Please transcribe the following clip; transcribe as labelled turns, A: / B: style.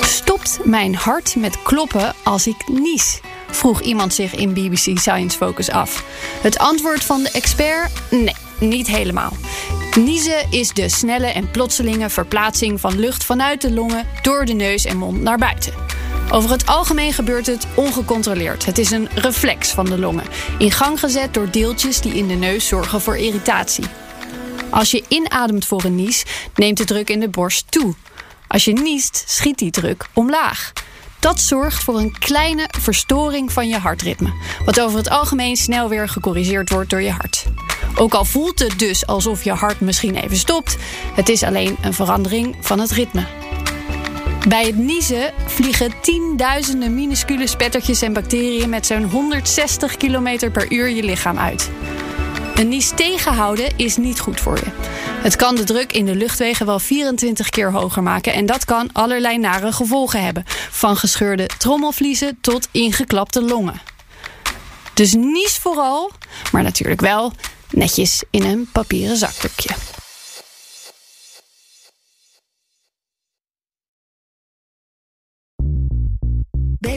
A: Stopt mijn hart met kloppen als ik nies? Vroeg iemand zich in BBC Science Focus af. Het antwoord van de expert? Nee, niet helemaal. Niezen is de snelle en plotselinge verplaatsing van lucht vanuit de longen door de neus en mond naar buiten. Over het algemeen gebeurt het ongecontroleerd. Het is een reflex van de longen, in gang gezet door deeltjes die in de neus zorgen voor irritatie. Als je inademt voor een nies, neemt de druk in de borst toe. Als je niest, schiet die druk omlaag. Dat zorgt voor een kleine verstoring van je hartritme, wat over het algemeen snel weer gecorrigeerd wordt door je hart. Ook al voelt het dus alsof je hart misschien even stopt, het is alleen een verandering van het ritme. Bij het niezen vliegen tienduizenden minuscule spettertjes en bacteriën met zo'n 160 km per uur je lichaam uit. Een nies tegenhouden is niet goed voor je. Het kan de druk in de luchtwegen wel 24 keer hoger maken en dat kan allerlei nare gevolgen hebben, van gescheurde trommelvliezen tot ingeklapte longen. Dus nies vooral, maar natuurlijk wel netjes in een papieren zakdoekje.
B: Bij